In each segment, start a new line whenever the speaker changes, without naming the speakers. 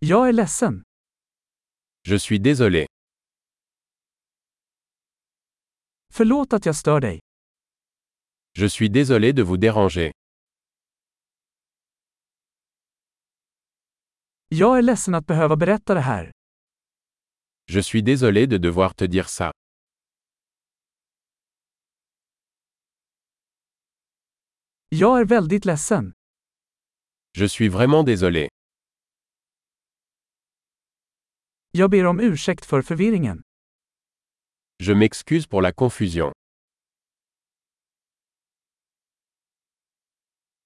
Jag är ledsen.
Je suis désolé.
Förlåt att jag stör dig.
Je suis désolé de vous déranger.
Jag är ledsen att behöva berätta det här.
Je suis désolé de devoir te dire ça.
Jag är väldigt ledsen.
Je suis vraiment désolé.
Jag ber om ursäkt för förvirringen.
Je m'excuse pour la confusion.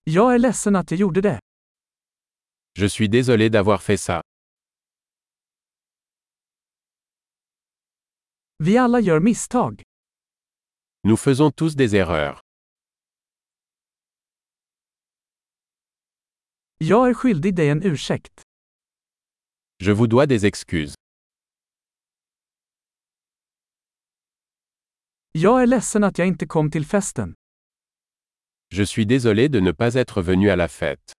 Jag är ledsen att jag gjorde det.
Je suis désolé d'avoir fait ça.
Vi alla gör misstag.
Nous faisons tous des erreurs.
Jag är skyldig dig en ursäkt.
Je vous dois des excuses.
Jag är ledsen att jag inte kom till festen.
Je suis désolé de ne pas être venu à la fête.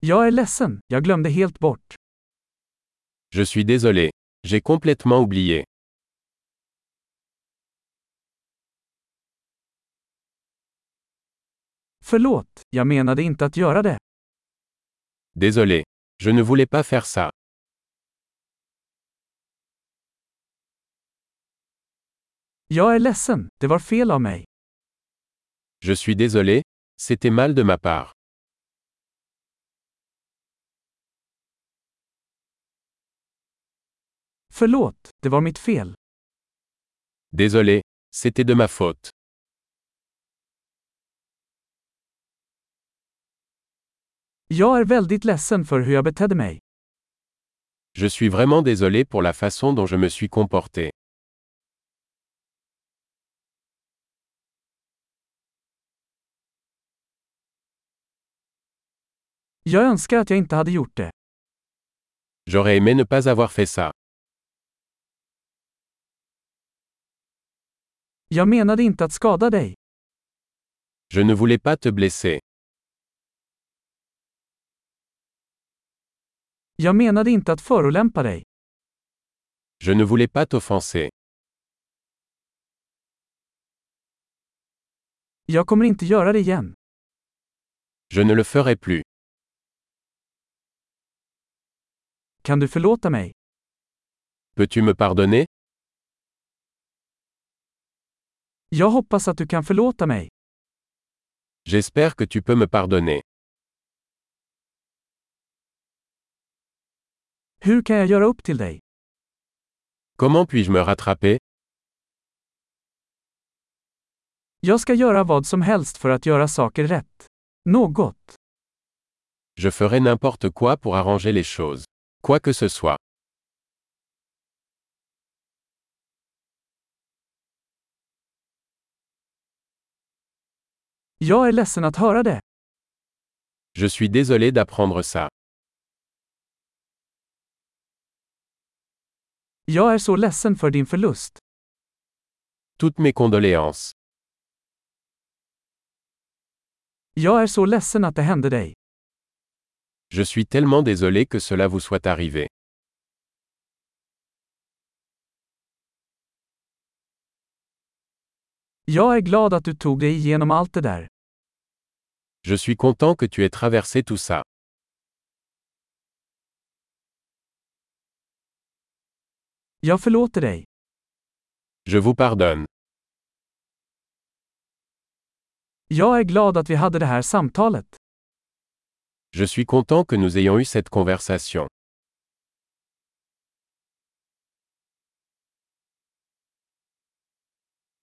Jag är ledsen, jag glömde helt bort.
Je suis désolé. J'ai complètement oublié.
Förlåt, jag menade inte att göra det.
Désolé. Je ne voulais pas faire ça.
Jag är ledsen, det var fel av mig.
Je suis désolé. C'était mal de ma part.
Förlåt, det var mitt fel.
Désolé. C'était de ma faute.
Jag är väldigt ledsen för hur jag betedde mig.
Je suis vraiment désolé pour la façon dont je me suis comporté.
Jag önskar att jag inte hade gjort det.
J'aurais aimé ne pas avoir fait ça.
Jag menade inte att skada dig.
Je ne voulais pas te blesser.
Jag menade inte att förolämpa dig.
Je ne voulais pas t'offenser.
Jag kommer inte göra det igen.
Je ne le ferai plus.
Kan du förlåta mig?
Peux-tu me pardonner
Jag hoppas att du kan förlåta mig.
J'espère que tu peux me pardonner.
Hur kan jag göra upp till dig?
Comment puis-je me rattraper
Jag ska göra vad som helst för att göra saker rätt. Något.
Je ferai n'importe quoi pour arranger les choses. Quoi que ce soit.
Jag är ledsen att höra det.
Je suis désolé d'apprendre ça.
Jag är så ledsen för din förlust.
Toutes mes condoléances.
Jag är så ledsen att det hände dig.
Je suis tellement désolé que cela vous soit arrivé.
Jag är glad att du tog dig igenom allt det där.
Je suis content que tu aies traversé tout ça.
Jag förlåter dig.
Je vous pardonne.
Jag är glad att vi hade det här samtalet.
Je suis content que nous ayons eu cette conversation.